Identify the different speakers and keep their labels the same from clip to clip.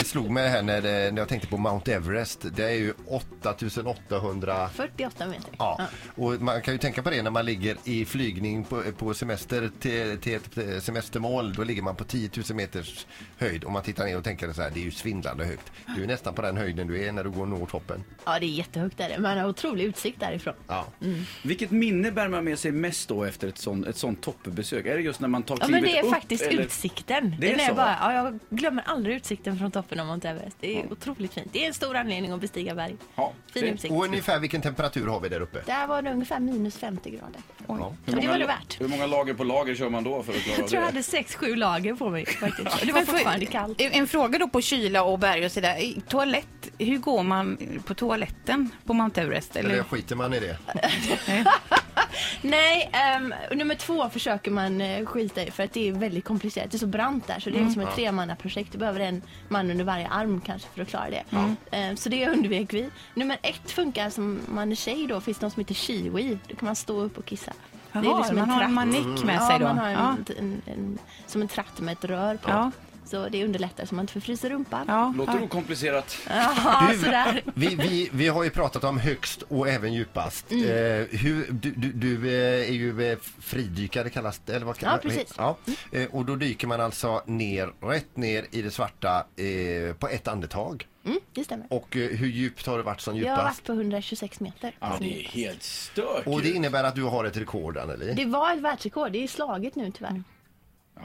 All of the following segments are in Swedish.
Speaker 1: Det slog mig det här när, det, när jag tänkte på Mount Everest. Det är ju 8800
Speaker 2: 48 meter.
Speaker 1: Ja, och man kan ju tänka på det när man ligger i flygning på, eh, på semester till, till ett eh, semestermål. Då ligger man på 10 000 meters höjd och man tittar ner och tänker så här, det är ju svindlande högt. Du är nästan på den höjden du är när du går och når toppen.
Speaker 2: Ja, det är jättehögt där. Man har otrolig utsikt därifrån.
Speaker 1: Ja.
Speaker 3: Vilket minne bär man med sig mest då efter ett sånt, ett sånt toppbesök? Är det just när man tar
Speaker 2: Ja,
Speaker 3: klivet
Speaker 2: men det är
Speaker 3: upp?
Speaker 2: faktiskt
Speaker 3: eller-
Speaker 2: utsikten.
Speaker 3: Det är
Speaker 2: Den
Speaker 3: så?
Speaker 2: bara, ja, jag glömmer aldrig utsikten från toppen av Mount Everest. Det är otroligt fint. Det är en stor anledning att bestiga berg.
Speaker 3: Ja,
Speaker 2: fin
Speaker 3: det-
Speaker 2: utsikt.
Speaker 1: Och ungefär vilken temperatur har vi där uppe?
Speaker 2: Där var det ungefär minus 50 grader.
Speaker 1: Ja.
Speaker 2: Men det var det värt.
Speaker 3: Hur många lager på lager kör man då för att klara
Speaker 2: Jag tror jag
Speaker 3: det?
Speaker 2: hade 6-7 lager på mig faktiskt. Det var fortfarande kallt.
Speaker 4: En en fråga då på kyla och berg och sådär. I Toalett, hur går man på toaletten på Mount Everest?
Speaker 1: Eller
Speaker 4: Eller?
Speaker 1: skiter man i det?
Speaker 2: Nej, ehm, och nummer två försöker man eh, skita i för att det är väldigt komplicerat. Det är så brant där så det är
Speaker 3: Mm.
Speaker 2: liksom ett tremannaprojekt. Du behöver en man under varje arm kanske för att klara det. Ehm, så det undvek vi. Nummer ett funkar som man är tjej då. Finns det något som heter chiwi. Då kan man stå upp och kissa. liksom
Speaker 4: Jaha, man har liksom en manick
Speaker 2: Mm.
Speaker 4: med
Speaker 2: Ja,
Speaker 4: sig då?
Speaker 2: man har en,
Speaker 4: Ja.
Speaker 2: en, en, som en tratt med ett rör på.
Speaker 4: Ja.
Speaker 2: Så det underlättar så man inte förfryser rumpan.
Speaker 4: Ja.
Speaker 3: Låter okomplicerat.
Speaker 2: Ja, sådär. Mm,
Speaker 1: Vi, vi, vi har ju pratat om högst och även djupast.
Speaker 2: Mm.
Speaker 1: Eh, hur, du, du, du eh, är ju eh, fridykare kallas det, eller vad
Speaker 2: Ja, precis.
Speaker 1: Ja. Eh, och då dyker man alltså ner, rätt ner i det svarta eh, på ett andetag.
Speaker 2: Mm, det stämmer.
Speaker 1: Och eh, hur djupt har det varit som
Speaker 2: Jag har varit
Speaker 1: djupast?
Speaker 2: på 126 meter.
Speaker 3: Ja, det är helt stört
Speaker 1: Och det
Speaker 3: ju.
Speaker 1: innebär att du har ett rekord Anneli?
Speaker 2: Det var ett världsrekord. Det är slaget nu tyvärr.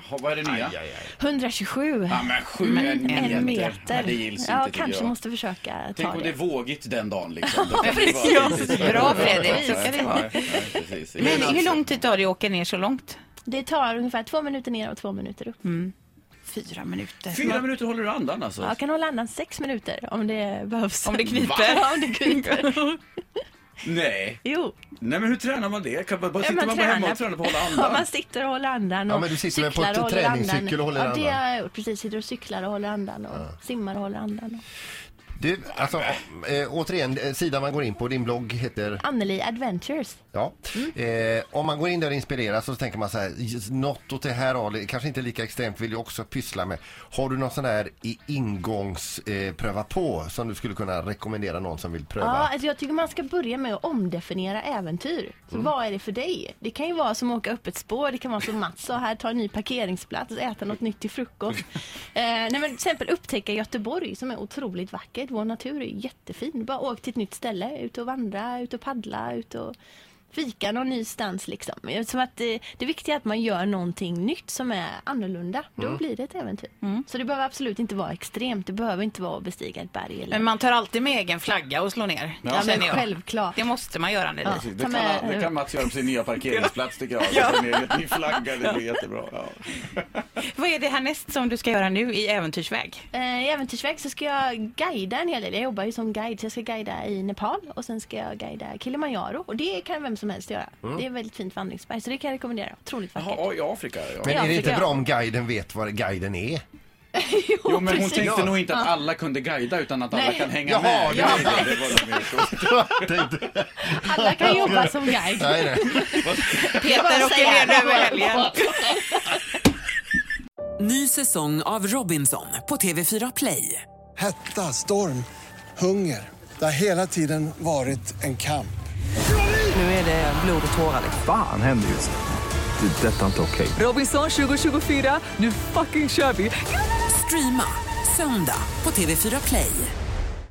Speaker 3: Jaha, vad är det nya?
Speaker 1: Aj, aj, aj.
Speaker 2: 127.
Speaker 3: Ja, men sju en,
Speaker 2: en meter.
Speaker 3: Nej, det gills
Speaker 2: ja,
Speaker 3: inte tycker
Speaker 2: kanske
Speaker 3: jag.
Speaker 2: måste försöka ta
Speaker 3: Tänk om det är
Speaker 2: det.
Speaker 3: vågigt den dagen liksom. Då kan det vara
Speaker 4: Precis.
Speaker 3: lite
Speaker 4: Bra
Speaker 3: svårare.
Speaker 4: Fredrik.
Speaker 3: Nej, nej, nej, precis.
Speaker 4: Men hur lång tid tar det att åka ner så långt?
Speaker 2: Det tar ungefär två minuter ner och två minuter upp.
Speaker 4: Fyra minuter.
Speaker 3: Fyra minuter håller du andan alltså?
Speaker 2: Jag kan hålla andan sex minuter om det behövs.
Speaker 4: Om det kniper.
Speaker 2: Ja, om det kniper.
Speaker 3: Nej.
Speaker 2: Jo,
Speaker 3: Nej men hur tränar man det? Kan man bara
Speaker 2: Ja,
Speaker 3: sitter man bara hemma och
Speaker 2: tränar.
Speaker 3: tränar på att hålla
Speaker 2: Ja, man
Speaker 3: andan?
Speaker 2: sitter och håller andan och
Speaker 1: Ja, men du sitter väl på
Speaker 2: cyklar
Speaker 1: ett
Speaker 2: och håller
Speaker 1: träningscykel
Speaker 2: andan.
Speaker 1: och håller
Speaker 2: ja, Ja, det
Speaker 1: andan.
Speaker 2: har jag gjort. Precis, sitter och cyklar och håller andan och simmar och håller andan.
Speaker 1: Du, alltså, eh, återigen, eh, sidan man går in på, din blogg heter?
Speaker 2: Anneli Adventures.
Speaker 1: Ja. Eh, om man går in där och inspireras så tänker man så här, "Just något åt det här hållet, kanske inte lika extremt, vill jag också pyssla med. Har du någon sån här i ingångs eh, pröva på som du skulle kunna rekommendera någon som vill pröva?
Speaker 2: Ja, alltså jag tycker man ska börja med att omdefiniera äventyr. Så Vad är det för dig? Det kan ju vara som att åka upp ett spår, det kan vara som Mats sa här, ta en ny parkeringsplats, äta något nytt till frukost. eh, nej men till exempel upptäcka Göteborg som är otroligt vackert. Vår natur är jättefin. Bara åk till ett nytt ställe, ut och vandra, ut och paddla, ut och fika någon ny stans liksom. Som att eh, det viktiga är att man gör någonting nytt som är annorlunda. Då blir det ett äventyr.
Speaker 4: Mm.
Speaker 2: Så det behöver absolut inte vara extremt. Det behöver inte vara att bestiga ett berg. Eller...
Speaker 4: Men man tar alltid med egen flagga och slår ner.
Speaker 2: Ja, men
Speaker 4: känner jag.
Speaker 2: självklart.
Speaker 4: Det måste man göra, Anneli.
Speaker 3: Precis, Det
Speaker 2: Ta
Speaker 3: kan,
Speaker 2: med-
Speaker 3: han- det kan Mats göra på sin nya parkeringsplats tycker jag. Ja. Sin egen ny flagga, det blir jättebra. Ja.
Speaker 4: Vad är det härnäst som du ska göra nu i äventyrsväg?
Speaker 2: Eh, I Äventyrsväg så ska jag guida en hel del. Jag jobbar ju som guide så jag ska guida i Nepal och sen ska jag guida Kilimanjaro och det kan vem som helst göra. Det är ett väldigt fint vandringsberg så det kan jag rekommendera. Otroligt vackert.
Speaker 3: Mm. Jaha, i Afrika ja.
Speaker 1: Men är det
Speaker 2: tycker
Speaker 1: inte
Speaker 2: jag.
Speaker 1: bra om guiden vet vad guiden är?
Speaker 3: Jo, men hon
Speaker 2: precis.
Speaker 3: tänkte
Speaker 1: Ja.
Speaker 3: nog inte att alla kunde guida utan att alla
Speaker 2: Nej.
Speaker 3: kan hänga
Speaker 1: Jaha,
Speaker 3: med.
Speaker 1: ja.
Speaker 3: Det var- det var nog mer så.
Speaker 2: Alla kan jobba som guide.
Speaker 1: Typ. Nej, nej.
Speaker 4: Peter åker ner nu över helgen.
Speaker 5: Ny säsong av Robinson på TV4 Play.
Speaker 6: Hetta, storm, hunger. Det har hela tiden varit en kamp.
Speaker 5: Nu är det blod och tårar. liksom.
Speaker 7: Fan händer just nu. Det. är Detta är inte okej.
Speaker 5: Robinson 2024, nu fucking kör vi! Streama söndag på TV4 Play.